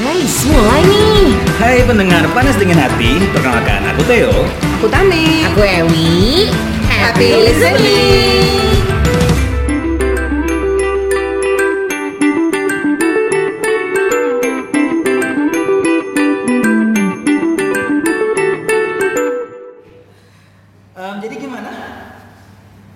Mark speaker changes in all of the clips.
Speaker 1: Guys, mulai nih.
Speaker 2: Hai pendengar panas dingin hati, perkenalkan aku Theo.
Speaker 3: Aku Tami.
Speaker 1: Aku Ewi.
Speaker 3: Happy listening.
Speaker 2: Em, jadi gimana?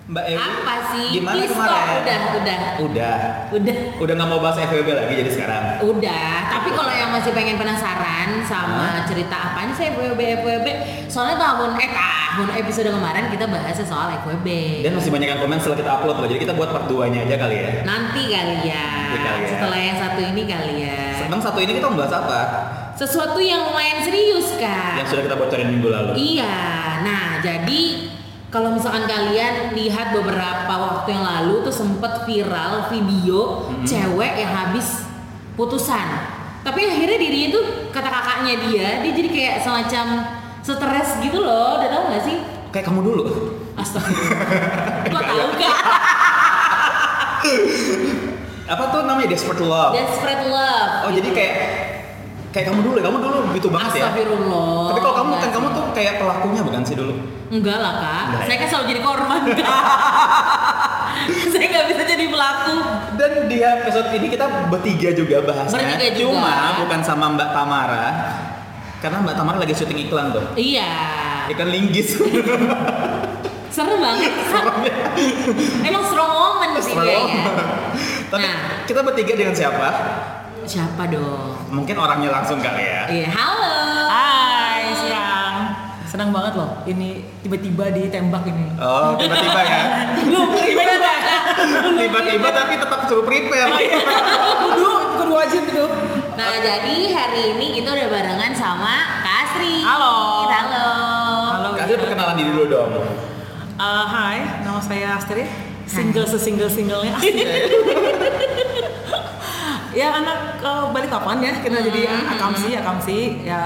Speaker 2: Mbak Ewi?
Speaker 1: Apa sih?
Speaker 2: Gimana
Speaker 1: Please stop.
Speaker 2: kemarin?
Speaker 1: Udah, udah,
Speaker 2: Udah.
Speaker 1: udah,
Speaker 2: Udah nggak mau bahas FWB lagi jadi sekarang.
Speaker 1: udah. Tapi kalau yang masih pengen penasaran sama cerita apaan sih FWB FWB, soalnya tahun eh tahun episode kemarin kita bahas soal FWB.
Speaker 2: Dan masih banyak yang komen setelah kita upload loh. Jadi kita buat part 2-nya aja kali ya.
Speaker 1: Nanti kali ya.
Speaker 2: Nanti kali ya.
Speaker 1: Setelah yang satu ini kali ya.
Speaker 2: Senang satu ini kita membahas apa?
Speaker 1: Sesuatu yang lumayan serius kak.
Speaker 2: Yang sudah kita bocorin minggu lalu.
Speaker 1: Iya, nah jadi kalau misalkan kalian lihat beberapa waktu yang lalu tuh sempet viral video cewek yang habis putusan. Tapi akhirnya dirinya tuh kata kakaknya dia, dia jadi kayak semacam stres gitu loh, udah tau gak sih?
Speaker 2: Kayak kamu dulu.
Speaker 1: Astaga, kok tau gak?
Speaker 2: Apa tuh namanya Desperate Love?
Speaker 1: Desperate love.
Speaker 2: oh jadi kayak kayak kamu dulu, ya? kamu dulu begitu banget ya.
Speaker 1: Astagfirullah.
Speaker 2: Tapi kalau kamu kan
Speaker 1: Enggak.
Speaker 2: kamu tuh kayak pelakunya bukan sih dulu?
Speaker 1: Enggak lah kak,
Speaker 2: Enggak ya?
Speaker 1: saya kan selalu jadi korban kak. saya nggak bisa jadi pelaku.
Speaker 2: Dan di episode ini kita bertiga juga bahasnya.
Speaker 1: Bertiga juga.
Speaker 2: Cuma bukan sama Mbak Tamara. Karena Mbak Tamara lagi syuting iklan tuh.
Speaker 1: Iya.
Speaker 2: Iklan linggis.
Speaker 1: Seru banget. Emang strong woman sih kayaknya.
Speaker 2: Tapi
Speaker 1: iya. Nah.
Speaker 2: kita bertiga dengan siapa?
Speaker 1: Siapa dong?
Speaker 2: Mungkin orangnya langsung kali ya.
Speaker 1: Iya, halo.
Speaker 3: Hai, siang. Senang banget loh ini tiba-tiba ditembak ini.
Speaker 2: Oh, tiba-tiba ya.
Speaker 3: Lu tiba-tiba.
Speaker 2: Tiba-tiba tapi tetap suruh
Speaker 1: Oh, iya.
Speaker 2: prepare.
Speaker 3: Kudu, kudu wajib itu.
Speaker 1: Nah, jadi hari ini kita udah barengan sama Kasri.
Speaker 3: Halo.
Speaker 1: Halo.
Speaker 3: Halo. iya.
Speaker 2: Kasih perkenalan diri dulu dong.
Speaker 3: Eh, hai, nama saya Astrid. Single sesingle singlenya. ya anak eh, balik kapan ya kita jadi
Speaker 2: Hmm,
Speaker 3: akamsi akamsi ya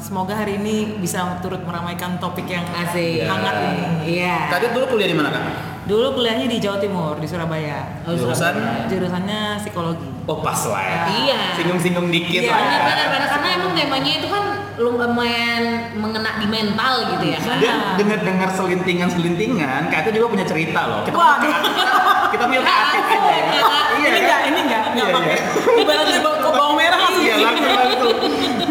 Speaker 3: semoga hari ini bisa turut meramaikan topik yang
Speaker 1: Asik.
Speaker 3: hangat
Speaker 2: Ya.
Speaker 3: ini.
Speaker 1: Iya.
Speaker 2: Kadit dulu kuliah di mana, Kak?
Speaker 3: Dulu kuliahnya di Jawa Timur di Surabaya.
Speaker 1: Oh,
Speaker 2: Jurusan?
Speaker 3: Jurusannya psikologi.
Speaker 2: Oh, pas lah ya.
Speaker 1: Iya.
Speaker 2: Singgung-singgung dikit
Speaker 3: Iya,
Speaker 2: lah ya.
Speaker 1: Benar-benar karena emang temanya itu kan lumayan mengena di mental gitu ya kan.
Speaker 2: Dan dengar-dengar selintingan-selintingan, Kak Adit juga punya cerita loh. Kita
Speaker 3: Wah,
Speaker 2: kita punya Kak Adit aja ya. Iya,
Speaker 3: ini
Speaker 2: kan?
Speaker 3: enggak, ini enggak, enggak
Speaker 2: Iya,
Speaker 3: pakai.
Speaker 2: iya.
Speaker 3: Ibaratnya bawang, bawang merah langsung.
Speaker 2: Iya, langsung langsung.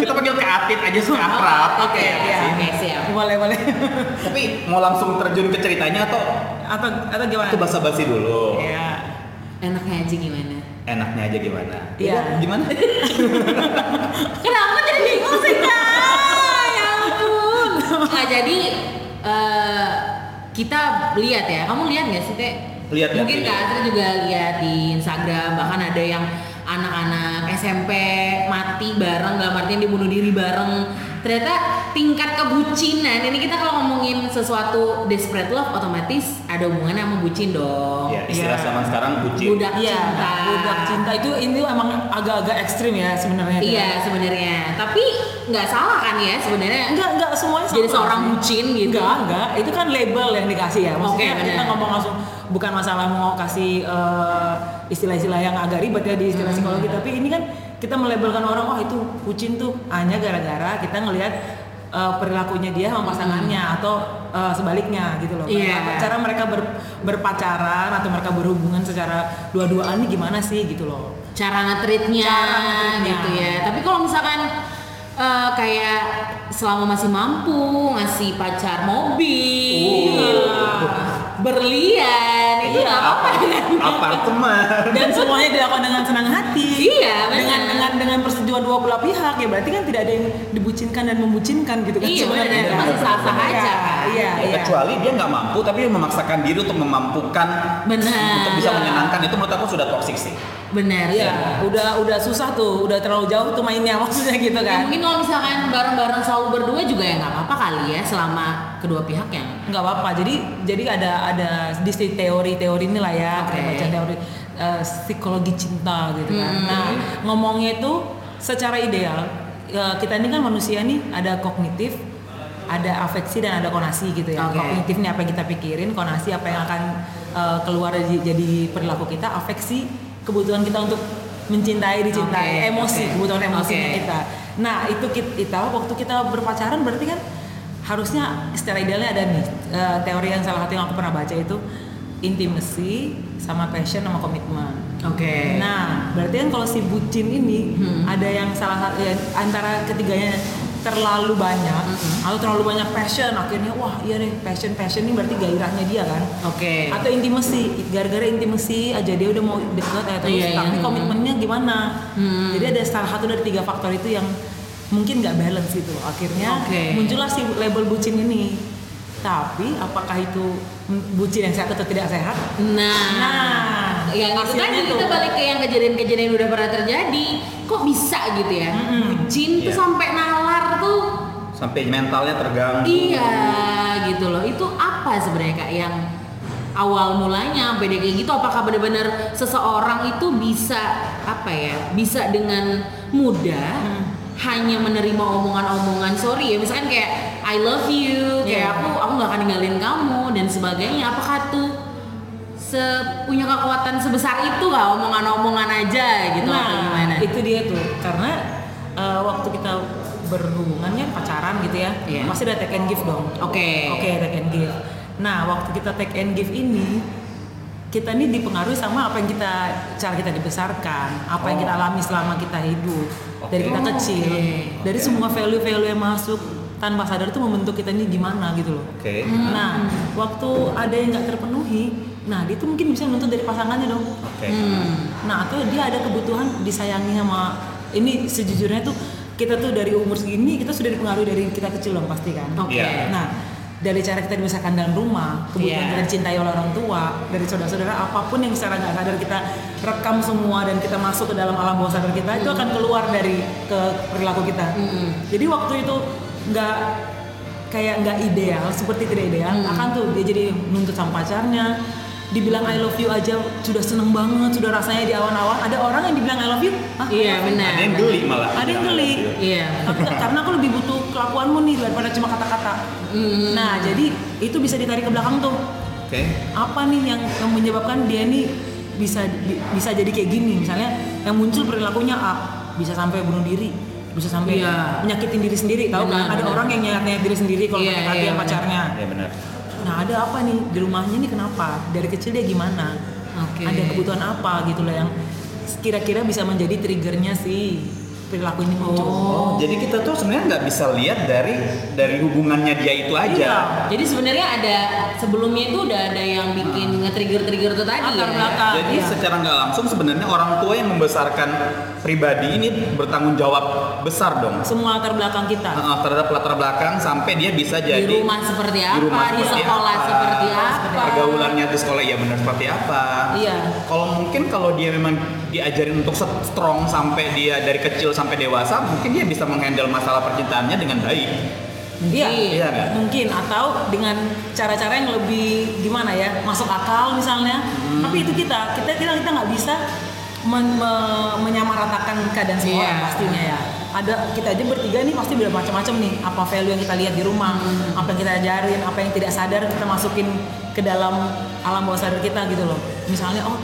Speaker 2: Kita panggil Kak Atit aja suka akrab.
Speaker 1: Oke,
Speaker 3: iya.
Speaker 1: oke, siap.
Speaker 3: Boleh, boleh.
Speaker 2: Tapi mau langsung terjun ke ceritanya atau
Speaker 3: Atau atau gimana?
Speaker 2: ke basa-basi dulu?
Speaker 3: Iya.
Speaker 1: Enaknya aja gimana?
Speaker 2: Enaknya aja gimana?
Speaker 3: Iya.
Speaker 2: Udah, Gimana?
Speaker 1: Kenapa jadi bingung sih Kak? Ya ampun. Nah jadi eh, kita lihat ya, kamu lihat nggak sih Teh?
Speaker 2: Lihat, lihat,
Speaker 1: Mungkin Kak
Speaker 2: lihat.
Speaker 1: Astrid juga lihat di Instagram, bahkan ada yang anak-anak SMP mati bareng, gak artinya dibunuh diri bareng. Ternyata tingkat kebucinan, ini kita kalau ngomongin sesuatu desperate love, otomatis ada hubungannya sama bucin dong.
Speaker 2: Ya, istilah
Speaker 3: Iya.
Speaker 2: zaman sekarang bucin.
Speaker 1: Budak
Speaker 3: Iya,
Speaker 1: cinta.
Speaker 3: budak cinta itu ini emang agak-agak ekstrim ya sebenarnya.
Speaker 1: Iya sebenarnya, tapi nggak salah kan ya sebenarnya.
Speaker 3: Enggak, enggak semuanya
Speaker 1: jadi
Speaker 3: sama
Speaker 1: seorang
Speaker 3: sih.
Speaker 1: bucin gitu
Speaker 3: Enggak, enggak. Itu kan label yang dikasih ya. Maksudnya
Speaker 1: Oke,
Speaker 3: kita
Speaker 1: benar.
Speaker 3: ngomong langsung bukan masalah mau kasih eh, istilah-istilah yang agak ribet ya di istilah
Speaker 1: Hmm.
Speaker 3: psikologi, tapi ini kan kita melabelkan orang oh itu bucin tuh hanya gara-gara kita ngelihat eh, perilakunya dia sama pasangannya atau eh, sebaliknya gitu loh.
Speaker 1: Hmm. Iya.
Speaker 3: Mereka- Cara mereka ber- berpacaran atau mereka berhubungan secara dua-duaan nih gimana sih gitu loh.
Speaker 1: cara ngetreatnya
Speaker 3: Cara ngetreatnya.
Speaker 1: gitu ya tapi kalau misalkan eh, kayak selama masih mampu ngasih pacar mobil eh, berlian itu
Speaker 2: Iya.
Speaker 3: Iya,
Speaker 1: nggak apa-apa kan?
Speaker 2: Apartemen.
Speaker 3: dan semuanya dilakukan dengan senang hati
Speaker 1: Iya, benar.
Speaker 3: dengan dengan dengan persetujuan dua belah pihak ya berarti kan tidak ada yang dibucinkan dan membucinkan gitu kan
Speaker 1: Iya,
Speaker 3: sebenarnya
Speaker 1: benar.
Speaker 3: kan.
Speaker 1: Masih sah-sah
Speaker 3: Iya,
Speaker 1: aja, kan?
Speaker 3: iya
Speaker 2: Ya,
Speaker 3: iya
Speaker 2: kecuali dia nggak mampu tapi dia memaksakan diri untuk memampukan
Speaker 1: Benar.
Speaker 2: untuk bisa menyenangkan itu menurut aku sudah toksik sih.
Speaker 1: benar
Speaker 3: Iya,
Speaker 1: sih.
Speaker 3: udah udah susah tuh udah terlalu jauh tuh mainnya maksudnya gitu
Speaker 1: Ya,
Speaker 3: kan
Speaker 1: mungkin kalau misalkan bareng-bareng selalu berdua juga ya nggak apa-apa kali ya selama kedua pihak ya. yang
Speaker 3: nggak apa-apa jadi jadi ada ada di si teori-teori inilah ya kita
Speaker 1: Oke.
Speaker 3: baca teori eh, psikologi cinta gitu kan
Speaker 1: Hmm.
Speaker 3: nah ngomongnya itu secara ideal eh, kita ini kan manusia nih ada kognitif ada afeksi dan ada konasi gitu ya
Speaker 1: Oke.
Speaker 3: kognitif nih apa yang kita pikirin konasi apa yang akan eh, keluar jadi, jadi perilaku kita afeksi kebutuhan kita untuk mencintai
Speaker 1: Oke,
Speaker 3: dicintai emosi
Speaker 1: oke.
Speaker 3: kebutuhan emosinya
Speaker 1: Oke.
Speaker 3: kita nah itu kit- kita waktu kita berpacaran berarti kan harusnya secara idealnya ada nih eh, teori yang salah satu yang aku pernah baca itu intimacy sama passion sama komitmen
Speaker 1: Oke.
Speaker 3: Nah, berarti kan kalau si bucin ini
Speaker 1: Hmm.
Speaker 3: ada yang salah satu ya, antara ketiganya terlalu banyak
Speaker 1: Hmm.
Speaker 3: atau terlalu banyak passion akhirnya wah iya deh passion passion ini berarti gairahnya dia kan
Speaker 1: Oke.
Speaker 3: atau intimasi gara-gara intimasi aja dia udah mau deket ya terus
Speaker 1: Iya, iya.
Speaker 3: tapi komitmennya gimana
Speaker 1: Hmm.
Speaker 3: jadi ada salah satu dari tiga faktor itu yang mungkin nggak balance gitu akhirnya
Speaker 1: Oke.
Speaker 3: muncullah si label bucin ini tapi apakah itu bucin yang sehat atau tidak sehat
Speaker 1: Nah,
Speaker 3: Nah,
Speaker 1: yang itu
Speaker 3: hasilnya
Speaker 1: tadi kita
Speaker 3: tuh.
Speaker 1: balik kan. ke yang kejadian-kejadian yang udah pernah terjadi, kok bisa gitu ya?
Speaker 3: Mm-mm.
Speaker 1: Bucin tuh
Speaker 2: Iya.
Speaker 1: sampai nalar tuh,
Speaker 2: sampai mentalnya terganggu
Speaker 1: iya gitu loh. Itu apa sebenarnya kak yang awal mulanya sampai dia kayak gitu? Apakah benar-benar seseorang itu bisa apa ya? Bisa dengan mudah
Speaker 3: Hmm.
Speaker 1: hanya menerima omongan-omongan sorry ya misalkan kayak I love you kayak
Speaker 3: Iya.
Speaker 1: aku aku nggak akan ninggalin kamu dan sebagainya apakah tuh se punya kekuatan sebesar itu nggak omongan-omongan aja gitu atau
Speaker 3: Nah.
Speaker 1: gimana?
Speaker 3: itu dia tuh karena eh, waktu kita berhubungan kan pacaran gitu ya
Speaker 1: Iya.
Speaker 3: pasti ada take and give dong
Speaker 1: Oke.
Speaker 3: oke take and give nah waktu kita take and give ini kita ini dipengaruhi sama apa yang kita cara kita dibesarkan apa yang
Speaker 2: Oh.
Speaker 3: kita alami selama kita hidup dari
Speaker 2: Oke.
Speaker 3: kita
Speaker 1: Oh,
Speaker 3: kecil
Speaker 1: oke.
Speaker 3: dari
Speaker 2: Oke.
Speaker 3: semua value-value yang masuk tanpa sadar itu membentuk kita ini gimana gitu loh
Speaker 2: oke
Speaker 1: Hmm.
Speaker 3: nah waktu ada yang nggak terpenuhi nah dia tuh mungkin bisa menuntut dari pasangannya dong
Speaker 2: oke
Speaker 1: Hmm.
Speaker 3: Nah, atau dia ada kebutuhan disayangi sama ini sejujurnya tuh kita tuh dari umur segini kita sudah dipengaruhi dari kita kecil dong pasti kan.
Speaker 1: Oke.
Speaker 2: Iya.
Speaker 3: Nah, dari cara kita dibesarkan dalam rumah, kebutuhan
Speaker 1: Iya.
Speaker 3: kita dicintai oleh orang tua, dari saudara-saudara, apapun yang secara nggak sadar kita rekam semua dan kita masuk ke dalam alam bawah sadar kita, itu akan keluar dari ke perilaku kita.
Speaker 1: Mm-mm.
Speaker 3: Jadi waktu itu nggak kayak nggak ideal, seperti tidak ideal,
Speaker 1: Hmm.
Speaker 3: akan tuh dia jadi nuntut sama pacarnya, dibilang I love you aja sudah seneng banget, sudah rasanya di awan-awan. Ada orang yang dibilang I love you, "Hah, I
Speaker 1: Iya
Speaker 3: love you."
Speaker 1: benar.
Speaker 2: ada yang geli malah
Speaker 3: Ada yang geli.
Speaker 1: Iya.
Speaker 3: Tapi karena aku lebih butuh kelakuanmu nih daripada cuma kata-kata.
Speaker 1: Hmm.
Speaker 3: Nah, jadi itu bisa ditarik ke belakang tuh.
Speaker 2: oke
Speaker 3: Apa nih yang yang menyebabkan dia nih bisa di- bisa jadi kayak gini? Misalnya yang muncul perilakunya A, bisa sampai bunuh diri, bisa sampai
Speaker 1: Iya.
Speaker 3: menyakitin diri sendiri. Tahu
Speaker 1: Benar,
Speaker 3: kan ada
Speaker 1: benar.
Speaker 3: orang yang nyayat-nyayat diri sendiri kalau
Speaker 1: Iya,
Speaker 3: yeah,
Speaker 1: iya,
Speaker 3: yang
Speaker 1: benar.
Speaker 3: pacarnya.
Speaker 2: ya benar
Speaker 3: Nah, ada apa nih di rumahnya nih kenapa? Dari kecil dia gimana?
Speaker 1: Oke.
Speaker 3: Ada kebutuhan apa gitu loh yang kira-kira bisa menjadi triggernya sih perilaku ini muncul.
Speaker 1: Oh.
Speaker 2: jadi kita tuh sebenarnya nggak bisa lihat dari dari hubungannya dia itu
Speaker 3: Iya.
Speaker 2: aja
Speaker 1: Jadi sebenarnya ada sebelumnya itu udah ada yang bikin
Speaker 2: Nah.
Speaker 1: nge-trigger-trigger itu tadi
Speaker 3: Latar
Speaker 1: ya.
Speaker 3: belakang. Ah,
Speaker 2: jadi
Speaker 3: iya.
Speaker 2: secara nggak langsung sebenarnya orang tua yang membesarkan pribadi ini bertanggung jawab besar dong
Speaker 3: semua latar belakang kita.
Speaker 2: Heeh, terhadap latar belakang sampai dia bisa jadi
Speaker 1: di rumah seperti
Speaker 2: Iya,
Speaker 1: apa,
Speaker 2: di
Speaker 1: di,
Speaker 2: rumah seperti
Speaker 1: sekolah
Speaker 2: apa,
Speaker 1: seperti apa.
Speaker 2: pergaulannya di sekolah ya benar seperti apa
Speaker 3: Iya.
Speaker 2: kalau mungkin kalau dia memang diajarin untuk strong sampai dia dari kecil sampai dewasa mungkin dia bisa menghandle masalah percintaannya dengan baik
Speaker 3: Iya.
Speaker 2: Iya nggak?
Speaker 3: Mungkin atau dengan cara-cara yang lebih gimana ya, masuk akal misalnya. Tapi itu kita, kita kita kita nggak bisa men- me- menyamaratakan keadaan
Speaker 1: Iya.
Speaker 3: semua orang pastinya ya. Ada kita aja bertiga nih pasti beda macam-macam nih. Apa value yang kita lihat di rumah,
Speaker 1: Hmm.
Speaker 3: apa yang kita ajarin, apa yang tidak sadar kita masukin ke dalam alam bawah sadar kita gitu loh. Misalnya oh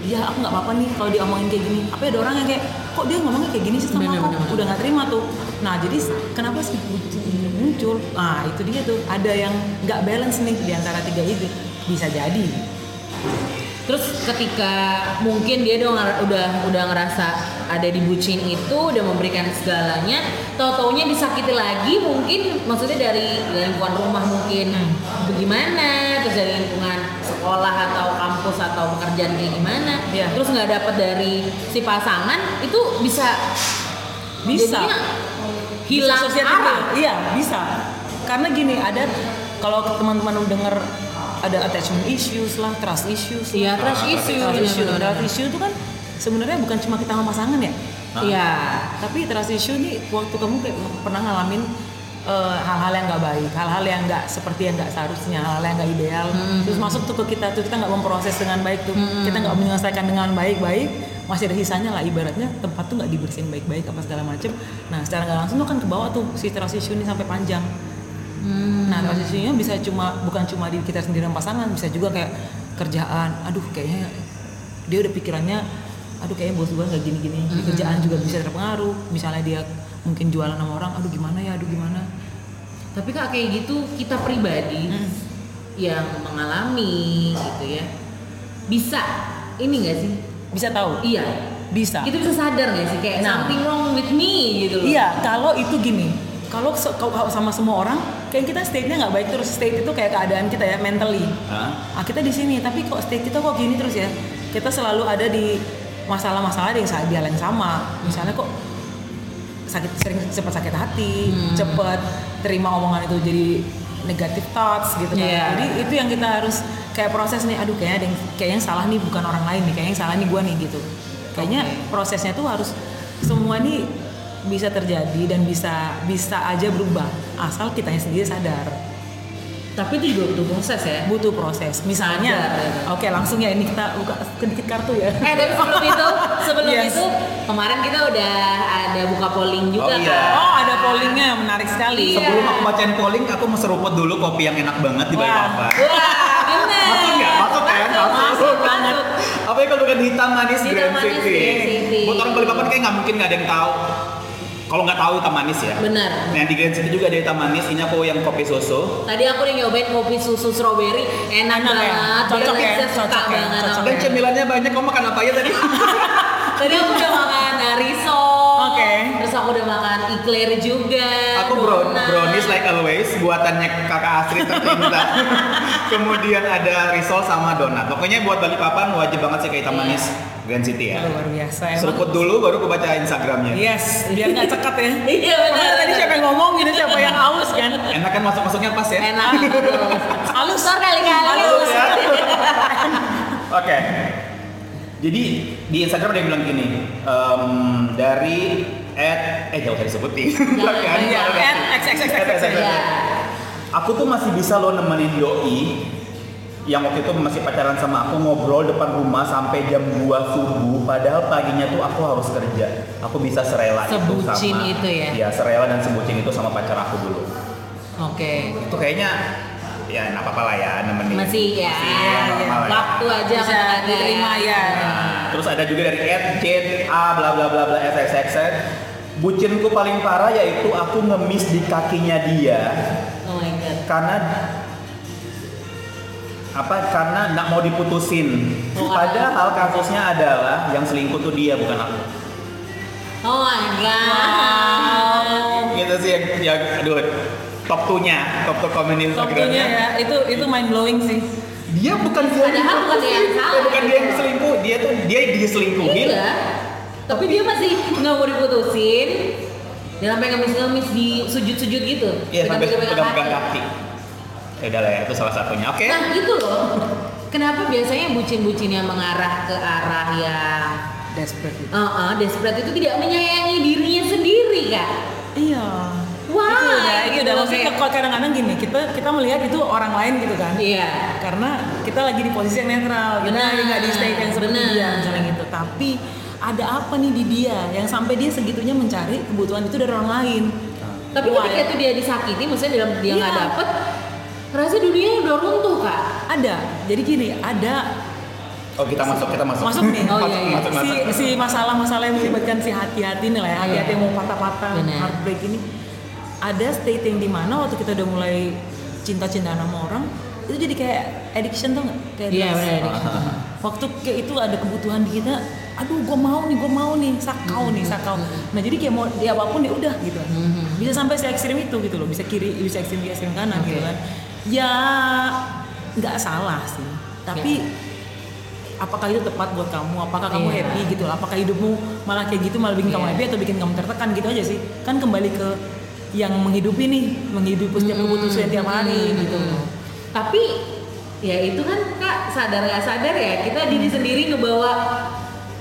Speaker 3: Iya, aku nggak apa-apa nih kalau diomongin kayak gini. Tapi ada orang yang kayak, kok dia ngomongnya kayak gini sih sama
Speaker 1: Bener,
Speaker 3: aku?
Speaker 1: bener, bener.
Speaker 3: Udah nggak terima tuh. Nah jadi s- kenapa sih bucin ini muncul? Nah itu dia tuh ada yang nggak balance nih di antara tiga itu bisa jadi.
Speaker 1: Terus ketika mungkin dia udah nger- udah udah ngerasa ada di bucin itu udah memberikan segalanya, tau-taunya disakiti lagi mungkin maksudnya dari dari lingkungan rumah mungkin
Speaker 3: Hmm.
Speaker 1: bagaimana, terus dari lingkungan sekolah atau kampus atau pekerjaan kayak gimana,
Speaker 3: Iya.
Speaker 1: terus nggak dapat dari si pasangan itu bisa
Speaker 3: Bisa.
Speaker 1: jadinya hilang
Speaker 3: Bisa sosial
Speaker 1: arah.
Speaker 3: juga. Iya bisa. Karena gini ada kalau teman-teman denger ada attachment issues lah, trust issues.
Speaker 1: Iya,
Speaker 3: lah.
Speaker 1: trust issue,
Speaker 3: Trust issue.
Speaker 1: benar-benar.
Speaker 3: Trust issue itu kan sebenarnya bukan cuma kita sama pasangan ya.
Speaker 1: Iya.
Speaker 3: Tapi trust issue nih waktu kamu kayak pernah ngalamin eh, hal-hal yang nggak baik, hal-hal yang nggak seperti yang nggak seharusnya, hal-hal yang nggak ideal, terus masuk tuh ke kita tuh kita nggak memproses dengan baik tuh, kita nggak menyelesaikan dengan baik-baik, masih ada sisanya lah ibaratnya tempat tuh nggak dibersihin baik-baik apa segala macem. Nah secara nggak langsung tuh kan kebawa tuh si trust issue ini sampai panjang.
Speaker 1: Hmm.
Speaker 3: Nah trust issue-nya bisa cuma bukan cuma di kita sendiri dan pasangan, bisa juga kayak kerjaan, aduh kayaknya dia udah pikirannya aduh kayaknya bos gue nggak gini-gini di kerjaan juga bisa terpengaruh misalnya dia mungkin jualan sama orang aduh gimana ya aduh gimana
Speaker 1: Tapi kak kayak gitu kita pribadi
Speaker 3: Hmm.
Speaker 1: yang mengalami gitu ya bisa ini nggak sih?
Speaker 3: bisa tahu
Speaker 1: Iya.
Speaker 3: bisa
Speaker 1: Kita bisa sadar nggak sih kayak
Speaker 3: Nah.
Speaker 1: something wrong with me gitu loh.
Speaker 3: Iya, kalau itu gini, kalau se- kau- kau sama semua orang, kayak kita state-nya nggak baik terus state itu kayak keadaan kita ya mentally.
Speaker 2: Hah?
Speaker 3: Ah, kita di sini, tapi kok state kita kok gini terus ya? Kita selalu ada di masalah-masalah yang sa- di hal yang sama. Misalnya kok sakit sering cepat sakit hati,
Speaker 1: Hmm.
Speaker 3: cepat terima omongan itu jadi negative thoughts gitu kan.
Speaker 1: Iya.
Speaker 3: Jadi itu yang kita harus kayak proses nih, aduh kayaknya ada yang kayaknya yang salah nih bukan orang lain nih, kayaknya yang salah nih gua nih gitu. Kayaknya
Speaker 1: Oke.
Speaker 3: prosesnya tuh harus semua nih bisa terjadi dan bisa bisa aja berubah asal kitanya sendiri sadar
Speaker 1: Tapi itu juga butuh proses ya.
Speaker 3: butuh proses misalnya
Speaker 1: Sadar.
Speaker 3: oke langsung ya ini kita buka kedikit kartu ya
Speaker 1: Eh tapi sebelum itu, sebelum
Speaker 3: Yes.
Speaker 1: itu kemarin kita udah ada buka polling juga
Speaker 2: Oh, iya.
Speaker 1: kan.
Speaker 3: oh ada pollingnya menarik sekali
Speaker 1: Iya.
Speaker 2: Sebelum aku bacain polling, aku seruput dulu kopi yang enak banget di
Speaker 3: Wah.
Speaker 2: Balikpapan.
Speaker 1: Wah, bener.
Speaker 2: Masuk nggak? Masuk kan?
Speaker 1: Masuk, masuk.
Speaker 2: Apa yang kalau bukan hitam manis
Speaker 1: Hitam
Speaker 2: Grand
Speaker 1: manis
Speaker 2: City?
Speaker 1: Grand City.
Speaker 2: Buat orang Balikpapan kayak nggak mungkin nggak ada yang tahu. Kalau nggak tahu hitam manis ya.
Speaker 1: Bener.
Speaker 2: Nah yang di Grand City juga ada hitam manis. Ini aku yang kopi susu.
Speaker 1: Tadi aku udah nyobain kopi susu strawberry, enak
Speaker 3: Enak ya?
Speaker 1: banget.
Speaker 3: Cocok
Speaker 1: Bener,
Speaker 3: ya?
Speaker 1: saya suka
Speaker 3: Cocok ya?
Speaker 1: banget.
Speaker 3: Cocok
Speaker 2: Dan
Speaker 3: Oke.
Speaker 2: cemilannya banyak. Kamu makan apa aja tadi?
Speaker 1: Tadi aku udah makan uh, risol.
Speaker 3: Oke.
Speaker 1: Terus aku udah makan eclair juga.
Speaker 2: Aku brown,
Speaker 1: donat.
Speaker 2: brownies like always, buatannya kakak Astrid tercinta. Kemudian ada risol sama donat. Pokoknya buat Balikpapan wajib banget sih ke
Speaker 1: Iya.
Speaker 2: hitam manis Grand City ya.
Speaker 3: luar biasa emang
Speaker 2: Seruput dulu baru aku baca Instagramnya.
Speaker 3: yes biar nggak cekat ya
Speaker 1: Iya benar.
Speaker 3: Padahal tadi siapa yang ngomong gitu siapa yang haus kan
Speaker 2: Enak kan masuk-masuknya pas ya?
Speaker 1: Enak.
Speaker 3: halus
Speaker 1: Sor kali kali.
Speaker 3: Halus
Speaker 2: ya. Oke. Jadi di Instagram ada yang bilang gini, em, dari at eh jauh dari sebutin.
Speaker 1: Jangan,
Speaker 3: iya
Speaker 1: jangan.
Speaker 3: kan x x x x x
Speaker 1: Iya.
Speaker 2: Aku tuh masih bisa lo nemenin doi yang waktu itu masih pacaran sama aku ngobrol depan rumah sampai jam 2 subuh padahal paginya tuh aku harus kerja aku bisa serela itu sama
Speaker 1: Sebucin itu ya?
Speaker 2: Iya, serela dan sebucin itu sama pacar aku dulu
Speaker 1: Oke.
Speaker 2: itu kayaknya ya apa apa lah ya nemenin
Speaker 1: Masih ya.
Speaker 2: normal ya.
Speaker 1: Waktu aja
Speaker 3: iya. Bisa
Speaker 1: kadang-kadang
Speaker 3: diterima ya.
Speaker 2: Nah, terus ada juga dari Ed, A, bla bla bla bla, S, X, X, X. Bucinku paling parah yaitu aku ngemis di kakinya dia
Speaker 1: Oh my god.
Speaker 2: karena apa karena nggak mau diputusin.
Speaker 1: Oh,
Speaker 2: Padahal kasusnya adalah yang selingkuh tuh dia bukan aku.
Speaker 1: Oh my god.
Speaker 2: Gitu sih yang, yang aduh top two-nya, top two komen di
Speaker 3: Tentunya
Speaker 2: Instagramnya.
Speaker 3: ya itu itu mind blowing sih
Speaker 2: Dia bukan dia yang
Speaker 1: Padahal bukan dia yang
Speaker 2: diputusin,
Speaker 1: salah.
Speaker 2: bukan dia yang selingkuh, dia tuh dia diselingkuhin.
Speaker 1: Iya. Tapi dia masih nggak mau diputusin. Dia sampai ngemis-ngemis di sujud-sujud gitu.
Speaker 2: Iya sampai
Speaker 1: Pegang-pegang
Speaker 2: pegang-pegang
Speaker 1: kaki.
Speaker 2: kaki. Ya udah lah ya, itu salah satunya. Oke.
Speaker 1: Nah itu loh. Kenapa biasanya bucin-bucin yang mengarah ke arah yang
Speaker 3: desperate gitu.
Speaker 1: eh, eh, desperate itu tidak menyayangi dirinya sendiri kak?
Speaker 3: Iya.
Speaker 1: Why?
Speaker 3: Itu udah,
Speaker 1: Gitu
Speaker 3: itu udah.
Speaker 1: loh,
Speaker 3: Maksudnya
Speaker 1: kayak-
Speaker 3: kalau kadang-kadang gini, kita kita melihat itu orang lain gitu kan.
Speaker 1: Iya.
Speaker 3: Karena kita lagi di posisi yang netral, kita
Speaker 1: Benar.
Speaker 3: lagi nggak di state yang seperti
Speaker 1: Benar.
Speaker 3: dia misalnya gitu. Tapi ada apa nih di dia yang sampai dia segitunya mencari kebutuhan itu dari orang lain.
Speaker 1: Tapi
Speaker 3: Why?
Speaker 1: ketika itu dia disakiti, maksudnya dalam dia nggak
Speaker 3: ya. Iya.
Speaker 1: dapet, rasa dunia udah runtuh kak.
Speaker 3: ada. Jadi gini, ada
Speaker 2: Oh kita masuk, kita masuk.
Speaker 3: Masuk nih.
Speaker 1: Oh, iya, iya.
Speaker 2: Masuk,
Speaker 3: si
Speaker 2: masuk.
Speaker 3: si masalah-masalah yang melibatkan si hati-hati nih lah ya hati-hati yang mau patah-patah
Speaker 1: Benar.
Speaker 3: heartbreak ini ada state yang dimana waktu kita udah mulai cinta-cintaan sama orang itu jadi kayak addiction tuh nggak kayak
Speaker 1: Iya,
Speaker 3: drugs.
Speaker 1: benar, addiction.
Speaker 2: Ah.
Speaker 3: waktu kayak itu ada kebutuhan di kita aduh gue mau nih gue mau nih sakau nih
Speaker 1: Hmm.
Speaker 3: sakau nah jadi kayak mau dia apapun ya udah gitu
Speaker 1: Mhm.
Speaker 3: bisa sampai se ekstrim itu gitu loh bisa kiri bisa ekstrim kiri ekstrim kanan gitu
Speaker 1: Oke.
Speaker 3: kan ya nggak salah sih tapi apakah itu tepat buat kamu apakah kamu
Speaker 1: Iya.
Speaker 3: happy gitu apakah hidupmu malah kayak gitu malah bikin kamu
Speaker 1: Iya.
Speaker 3: happy atau bikin kamu tertekan gitu aja sih kan kembali ke yang menghidupi nih menghidupi setiap
Speaker 1: Hmm.
Speaker 3: keputusan tiap hari gitu
Speaker 1: Tapi ya itu kan kak sadar nggak sadar ya kita diri
Speaker 3: Hmm.
Speaker 1: sendiri ngebawa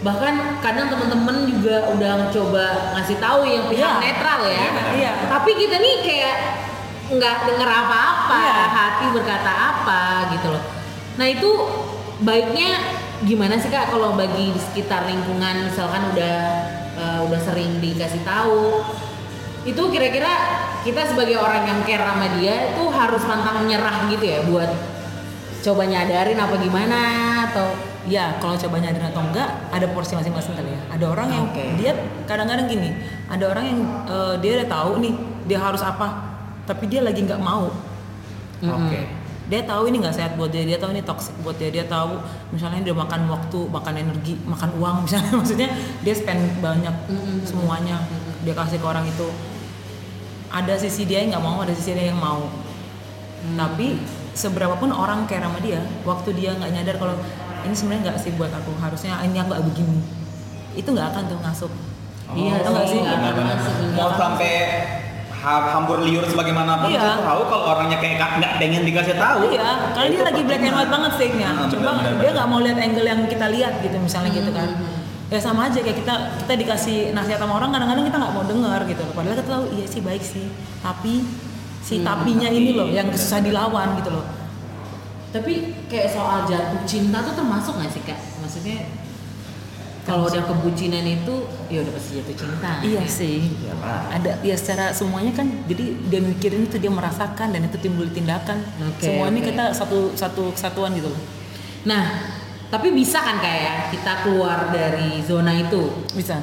Speaker 1: bahkan kadang teman-teman juga udah coba ngasih tahu yang pihak
Speaker 3: Iya.
Speaker 1: netral ya.
Speaker 3: Iya.
Speaker 1: Tapi kita nih kayak nggak denger apa-apa,
Speaker 3: Iya.
Speaker 1: hati berkata apa gitu loh. Nah itu baiknya gimana sih kak kalau bagi di sekitar lingkungan misalkan udah eh, udah sering dikasih tahu itu kira-kira kita sebagai orang yang care sama dia itu harus pantang menyerah gitu ya buat coba nyadarin apa gimana atau
Speaker 3: Ya, kalau cobanya ada atau enggak, ada porsi masing-masing kali ya. Ada orang yang
Speaker 1: Oke.
Speaker 3: dia kadang-kadang gini, ada orang yang eh, dia udah tahu nih dia harus apa, tapi dia lagi nggak mau.
Speaker 1: Mm-mm.
Speaker 2: Oke.
Speaker 3: Dia tahu ini nggak sehat buat dia, dia tahu ini toksik buat dia, dia tahu misalnya dia makan waktu, makan energi, makan uang misalnya, maksudnya dia spend banyak
Speaker 1: Mm-mm.
Speaker 3: semuanya, dia kasih ke orang itu. Ada sisi dia yang nggak mau, ada sisi dia yang mau.
Speaker 1: Mm.
Speaker 3: Tapi seberapa pun orang care sama dia, waktu dia nggak nyadar kalau ini sebenarnya nggak sih buat aku harusnya ini aku nggak begini, itu nggak akan tuh ngasup.
Speaker 1: Iya
Speaker 3: Tau nggak sih?
Speaker 1: nggak
Speaker 2: Benar, benar.
Speaker 1: akan sebenarnya.
Speaker 2: Mau sampai ha- hambur liur sebagaimanapun
Speaker 3: Iya.
Speaker 2: itu tahu kalau orangnya kayak nggak- nggak pengen dikasih tahu.
Speaker 3: Iya, karena
Speaker 2: Ya, itu
Speaker 3: dia lagi black and
Speaker 2: percuma.
Speaker 3: white banget stage-nya.
Speaker 2: Ah,
Speaker 3: Cuma
Speaker 2: benar, benar,
Speaker 3: dia
Speaker 2: benar.
Speaker 3: nggak mau lihat angle yang kita lihat gitu misalnya gitu kan.
Speaker 1: Hmm.
Speaker 3: Ya sama aja kayak kita kita dikasih nasihat sama orang kadang-kadang kita nggak mau dengar gitu. Padahal kita tahu iya sih baik sih, tapi si tapinya ini loh yang susah dilawan gitu loh.
Speaker 1: Tapi kayak soal jatuh cinta tuh termasuk nggak sih kak? Maksudnya kalau udah kebucinan itu ya udah pasti jatuh cinta.
Speaker 3: Iya sih.
Speaker 2: Iya, Pak.
Speaker 3: Ada ya secara semuanya kan jadi dia mikirin itu dia merasakan dan itu timbul tindakan.
Speaker 1: Oke,
Speaker 3: Semua ini
Speaker 1: oke.
Speaker 3: kita satu satu kesatuan gitu loh.
Speaker 1: Nah tapi bisa kan kayak kita keluar dari zona itu
Speaker 3: Bisa.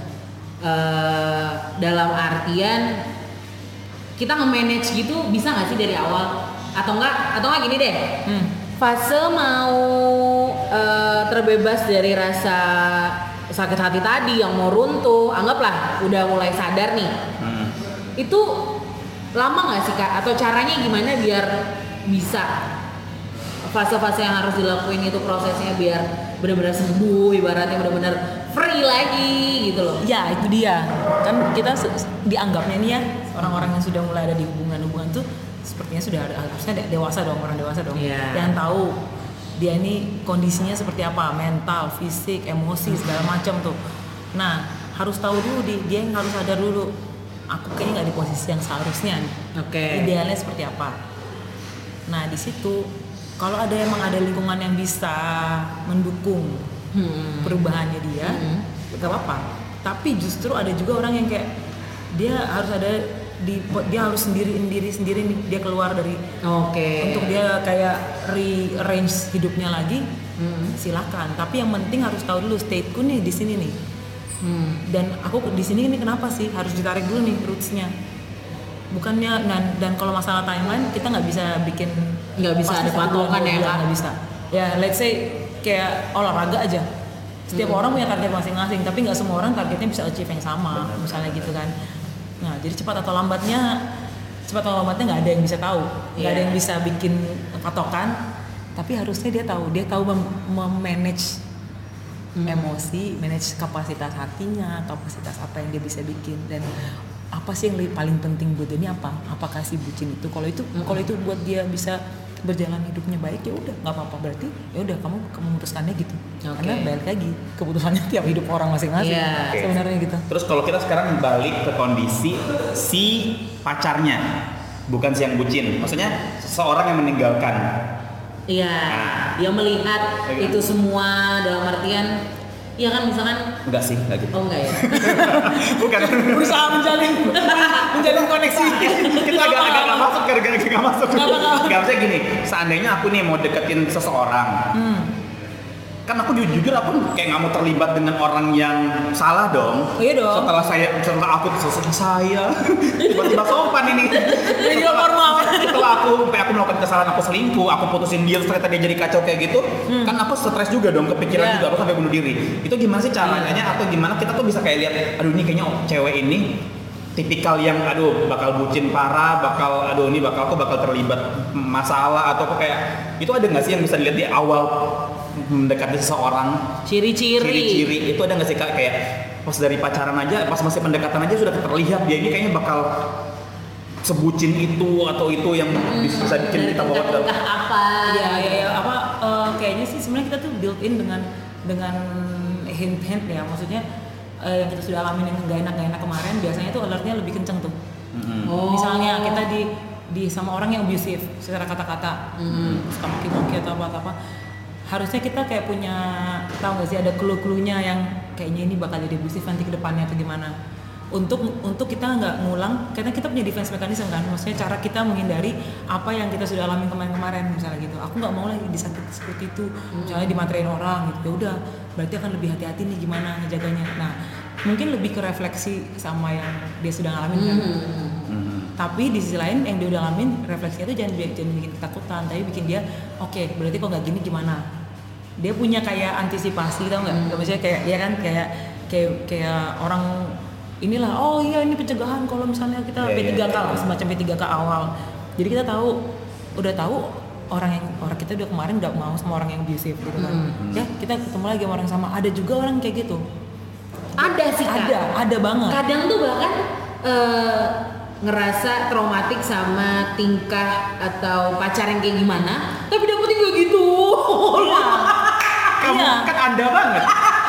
Speaker 1: eh dalam artian kita nge-manage gitu bisa nggak sih dari awal atau enggak atau enggak gini deh
Speaker 3: Hmm.
Speaker 1: fase mau eh, terbebas dari rasa sakit hati tadi yang mau runtuh anggaplah udah mulai sadar nih
Speaker 2: Hmm.
Speaker 1: itu lama nggak sih kak atau caranya gimana biar bisa fase-fase yang harus dilakuin itu prosesnya biar benar-benar sembuh ibaratnya benar-benar free lagi gitu loh
Speaker 3: Ya itu dia kan kita se- se- dianggapnya nih ya orang-orang yang sudah mulai ada di hubungan-hubungan tuh sepertinya sudah ada, harusnya de- dewasa dong orang dewasa dong
Speaker 1: Iya.
Speaker 3: yang tahu dia ini kondisinya seperti apa mental, fisik, emosi segala macam tuh. Nah harus tahu dulu di- dia yang harus sadar dulu aku kayaknya nggak di posisi yang seharusnya nih.
Speaker 1: oke
Speaker 3: idealnya seperti apa. Nah di situ kalau ada emang ada lingkungan yang bisa mendukung
Speaker 1: Hmm.
Speaker 3: perubahannya dia
Speaker 1: Mhm.
Speaker 3: gak apa-apa tapi justru ada juga orang yang kayak dia harus ada di dia harus sendiriin diri sendiri nih dia keluar dari
Speaker 1: Oke.
Speaker 3: untuk dia kayak rearrange hidupnya lagi
Speaker 1: Hmm.
Speaker 3: silakan tapi yang penting harus tahu dulu stateku nih di sini nih
Speaker 1: Hmm.
Speaker 3: dan aku di sini ini kenapa sih harus ditarik dulu nih rootsnya bukannya dan dan kalau masalah timeline kita nggak bisa bikin
Speaker 1: Nggak bisa ada
Speaker 3: pasti satu bulan,
Speaker 1: patokan
Speaker 3: dua
Speaker 1: ya,
Speaker 3: bulan,
Speaker 1: Kak?
Speaker 3: nggak bisa ya let's say kayak olahraga aja setiap
Speaker 1: Hmm.
Speaker 3: orang punya target masing-masing tapi nggak semua orang targetnya bisa achieve yang sama misalnya gitu kan nah jadi cepat atau lambatnya cepat atau lambatnya nggak ada yang bisa tahu nggak ada
Speaker 1: Iya.
Speaker 3: yang bisa bikin patokan tapi harusnya dia tahu dia tahu mem- memanage Hmm. emosi, manage kapasitas hatinya, kapasitas apa yang dia bisa bikin dan apa sih yang lebih paling penting buat dia ini apa? Apakah si bucin itu? Kalau itu kalau itu buat dia bisa berjalan hidupnya baik ya udah nggak apa-apa berarti ya udah kamu kamu memutuskannya gitu
Speaker 1: Oke.
Speaker 3: karena balik lagi keputusannya tiap hidup orang masing-masing
Speaker 1: Iya.
Speaker 2: Oke.
Speaker 3: sebenarnya gitu
Speaker 2: Terus kalau kita sekarang balik ke kondisi si pacarnya, bukan si yang bucin. Maksudnya seseorang yang meninggalkan.
Speaker 1: Iya. Dia melihat
Speaker 2: Oke.
Speaker 1: itu semua dalam artian ya kan misalkan
Speaker 2: Enggak sih, enggak gitu.
Speaker 1: oh enggak ya.
Speaker 2: Bukan.
Speaker 3: berusaha menjalin menjalin koneksi
Speaker 2: kita agak agak nggak masuk gara-gara nggak masuk.
Speaker 3: Nggak apa-apa.
Speaker 2: Nggak bisa gini. Seandainya aku nih mau deketin seseorang,
Speaker 3: hmm.
Speaker 2: kan aku ju- jujur aku kayak nggak mau terlibat dengan orang yang salah dong.
Speaker 3: Oh, iya dong.
Speaker 2: Setelah saya setelah aku sesuatu saya tiba-tiba sopan ini.
Speaker 3: Jadi dia formal.
Speaker 2: Setelah aku sampai aku melakukan kesalahan aku selingkuh, aku putusin dia terus ternyata dia jadi kacau kayak gitu, kan aku stres juga dong, kepikiran
Speaker 3: Iya.
Speaker 2: juga aku sampai bunuh diri. Itu gimana sih caranya atau gimana kita tuh bisa kayak lihat aduh ini kayaknya cewek ini tipikal yang aduh bakal bucin parah, bakal aduh ini bakal aku bakal terlibat masalah atau aku kayak itu ada nggak sih yang bisa dilihat di awal mendekati seseorang
Speaker 1: Ciri-ciri.
Speaker 2: ciri-ciri itu ada nggak sih kak kayak pas dari pacaran aja pas masih pendekatan aja sudah terlihat dia ini kayaknya bakal sebucin itu atau itu yang
Speaker 3: Hmm.
Speaker 2: bisa bikin
Speaker 3: Iya.
Speaker 2: kita bawa ke
Speaker 1: Entah apa.
Speaker 3: ya ya, ya. apa eh, kayaknya sih sebenarnya kita tuh built in dengan dengan hint hint ya maksudnya eh, yang kita sudah alamin yang gak enak gak enak kemarin biasanya tuh alertnya lebih kenceng tuh
Speaker 2: Mm-mm.
Speaker 1: Oh.
Speaker 3: misalnya kita di di sama orang yang abusive secara kata-kata
Speaker 1: Hmm.
Speaker 3: suka maki-maki atau apa apa harusnya kita kayak punya tahu nggak sih ada clue-cluenya yang kayaknya ini bakal jadi abusif nanti ke depannya atau gimana untuk untuk kita nggak ngulang karena kita punya defense mechanism kan maksudnya cara kita menghindari apa yang kita sudah alami kemarin-kemarin misalnya gitu aku nggak mau lagi disakit seperti itu
Speaker 1: Hmm.
Speaker 3: misalnya dimaterain orang gitu ya udah berarti akan lebih hati-hati nih gimana ngejaganya nah mungkin lebih ke refleksi sama yang dia sudah ngalamin kan
Speaker 1: Hmm.
Speaker 2: Mhm.
Speaker 3: tapi di sisi lain yang dia udah alamin refleksinya itu jangan jangan bikin ketakutan tapi bikin dia oke berarti kok nggak gini gimana dia punya kayak antisipasi tau nggak Nggak maksudnya kayak ya kan kayak kayak kayak orang inilah oh iya ini pencegahan kalau misalnya kita
Speaker 2: Iya, iya,
Speaker 3: P3K lah,
Speaker 2: iya.
Speaker 3: semacam P3K awal jadi kita tahu udah tahu orang yang orang kita udah kemarin nggak mau sama orang yang abusive gitu kan
Speaker 2: Mm-hmm.
Speaker 3: ya kita ketemu lagi sama orang yang sama ada juga orang yang kayak gitu
Speaker 1: Ada sih Kak.
Speaker 3: ada ada banget
Speaker 1: Kadang tuh bahkan eh, ngerasa traumatik sama tingkah atau pacar yang kayak gimana, tapi dapetin gak gitu.
Speaker 3: Iya.
Speaker 2: Kamu
Speaker 3: Iya.
Speaker 2: kan anda banget.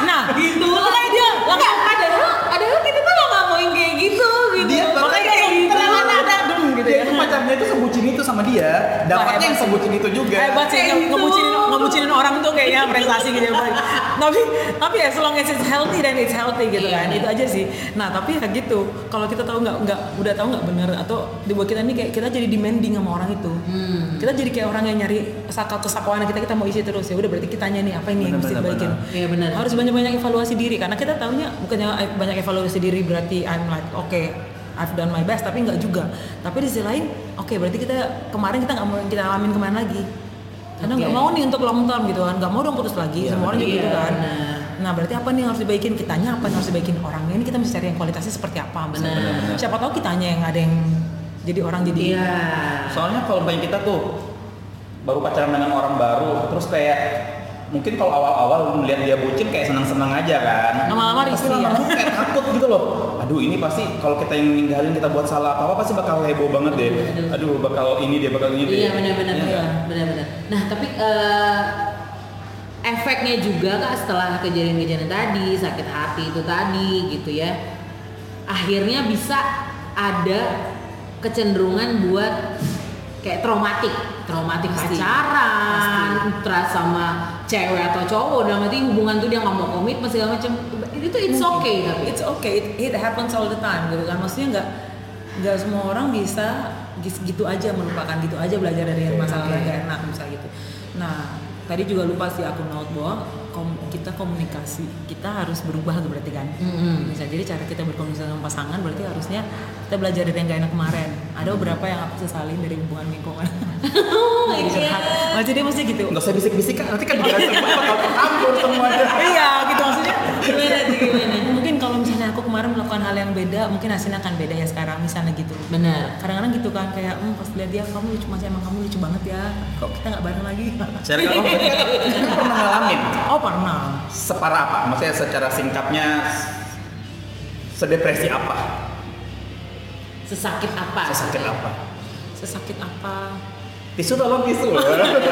Speaker 3: nah
Speaker 1: gitu.
Speaker 3: makanya dia
Speaker 1: Lah
Speaker 3: makanya
Speaker 1: nggak, padahal padahal kita tuh nggak ngomongin kayak gitu gitu.
Speaker 2: Dia
Speaker 3: Makanya
Speaker 2: bahkan-
Speaker 3: kayak gitu.
Speaker 2: Ternyata ada dem gitu ya. Itu pacarnya itu sebutin itu sama dia. Dapatnya
Speaker 3: hebat
Speaker 2: yang
Speaker 3: sih.
Speaker 2: sebutin itu juga.
Speaker 3: hebat sih
Speaker 1: Kayak
Speaker 3: nge-
Speaker 1: gitu.
Speaker 3: ngebucinin ngebucinin orang tuh kayaknya prestasi gitu ya. tapi tapi ya as long as it's healthy dan it's healthy gitu kan
Speaker 1: Iya.
Speaker 3: itu aja sih nah tapi ya gitu kalau kita tahu nggak nggak udah tahu nggak bener atau di buat kita nih kayak kita jadi demanding sama orang itu
Speaker 1: Hmm.
Speaker 3: kita jadi kayak orang yang nyari sakal kesakwanan kita kita mau isi terus ya udah berarti kita nih apa ini
Speaker 2: Bener,
Speaker 3: yang mesti
Speaker 2: bener,
Speaker 3: dibaikin
Speaker 2: bener.
Speaker 1: Iya benar.
Speaker 3: harus banyak-banyak evaluasi diri karena kita tahunya bukannya eh, banyak evaluasi diri berarti I'm like oke I've done my best tapi nggak juga tapi di sisi lain oke berarti kita kemarin kita nggak mau yang kita alamin kemarin lagi karena nggak
Speaker 1: Oke.
Speaker 3: mau nih untuk long term gitu kan nggak mau dong putus lagi
Speaker 2: Iya,
Speaker 3: semua orang juga
Speaker 1: iya,
Speaker 3: gitu kan
Speaker 1: benar.
Speaker 3: nah berarti apa nih yang harus dibaikin kitanya apa yang harus dibaikin orangnya ini kita mesti cari yang kualitasnya seperti apa misalnya.
Speaker 1: Benar.
Speaker 2: Benar.
Speaker 3: siapa tahu kitanya yang ada yang jadi orang jadi
Speaker 1: Iya.
Speaker 2: Soalnya kalau banyak kita tuh baru pacaran dengan orang baru, terus kayak mungkin kalau awal-awal lu melihat dia bucin kayak senang-senang aja kan.
Speaker 3: Lama-lama
Speaker 2: Tapi
Speaker 3: risih ya.
Speaker 2: lama-lama kayak takut gitu loh. Aduh ini pasti kalau kita yang ninggalin kita buat salah apa apa pasti bakal heboh banget deh. Aduh bakal ini dia bakal ini deh.
Speaker 1: Iya benar-benar
Speaker 2: Iya
Speaker 1: iya,
Speaker 2: kan?
Speaker 1: benar-benar. Nah tapi eh, efeknya juga kak setelah kejadian-kejadian tadi sakit hati itu tadi gitu ya, akhirnya bisa ada kecenderungan buat kayak traumatik, traumatik
Speaker 3: Pasti.
Speaker 1: pacaran, trust sama cewek atau cowok, dalam arti hubungan tuh dia nggak mau komitmen segala macam. Itu tuh it's
Speaker 3: Mungkin.
Speaker 1: okay tapi.
Speaker 3: it's okay it, it happens all the time gitu kan maksudnya nggak nggak semua orang bisa gis- gitu aja melupakan gitu aja belajar dari yang masalah yang gak enak misalnya gitu nah tadi juga lupa sih aku note bahwa kom- kita komunikasi kita harus berubah tuh berarti kan
Speaker 1: Mm-mm.
Speaker 3: bisa jadi cara kita berkomunikasi sama pasangan berarti harusnya kita belajar dari yang gak enak kemarin ada beberapa yang aku sesalin dari hubungan lingkungan
Speaker 1: Oh my
Speaker 3: curhat
Speaker 1: God.
Speaker 3: maksudnya mesti gitu
Speaker 2: Nggak usah bisik-bisik kan nanti kan juga semua bakal tercampur semuanya.
Speaker 3: iya gitu maksudnya
Speaker 1: Gimana tuh, gimana?
Speaker 3: mungkin kalau misalnya aku kemarin melakukan hal yang beda mungkin hasilnya akan beda ya sekarang misalnya gitu
Speaker 1: Benar.
Speaker 3: kadang-kadang gitu kan kayak hmm, pas lihat dia kamu lucu masih emang kamu lucu banget ya kok kita nggak bareng lagi
Speaker 2: Share kamu pernah ngalamin
Speaker 3: oh pernah
Speaker 2: separah apa? Maksudnya secara singkatnya sedepresi apa?
Speaker 1: Sesakit apa?
Speaker 2: Sesakit apa?
Speaker 3: sesakit apa
Speaker 2: Tisu tolong tisu loh.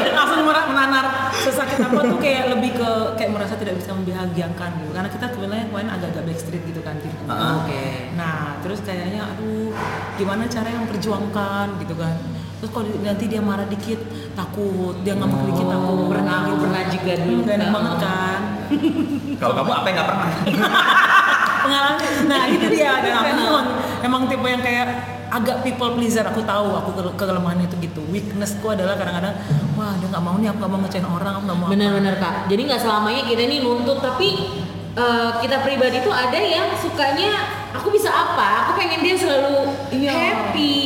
Speaker 3: langsung merah menanar sesakit apa tuh kayak lebih ke kayak merasa tidak bisa membahagiakan gitu karena kita sebenarnya kemarin agak-agak backstreet gitu kan gitu.
Speaker 2: Ah.
Speaker 1: Oke.
Speaker 3: Nah, terus kayaknya aduh gimana cara yang perjuangkan gitu kan. Terus kalau di- nanti dia marah dikit takut, dia ngambek dikit
Speaker 1: Oh,
Speaker 3: takut, pernah
Speaker 1: aku
Speaker 3: gitu.
Speaker 1: pernah juga dulu,
Speaker 3: Hmm, gak enak
Speaker 1: Kak.
Speaker 3: banget kan.
Speaker 2: Kalau kamu apa yang nggak pernah?
Speaker 3: Pengalaman. Nah, itu dia dan aku emang, emang tipe yang kayak agak people pleaser aku tahu aku ke- kelemahan itu gitu weakness gua adalah kadang-kadang wah dia nggak mau nih aku nggak mau ngecewain orang aku nggak mau
Speaker 1: Benar-benar kak. Jadi nggak selamanya kita ini nuntut, tapi eh, kita pribadi tuh ada yang sukanya aku bisa apa? Aku pengen dia selalu
Speaker 3: Iya.
Speaker 1: happy.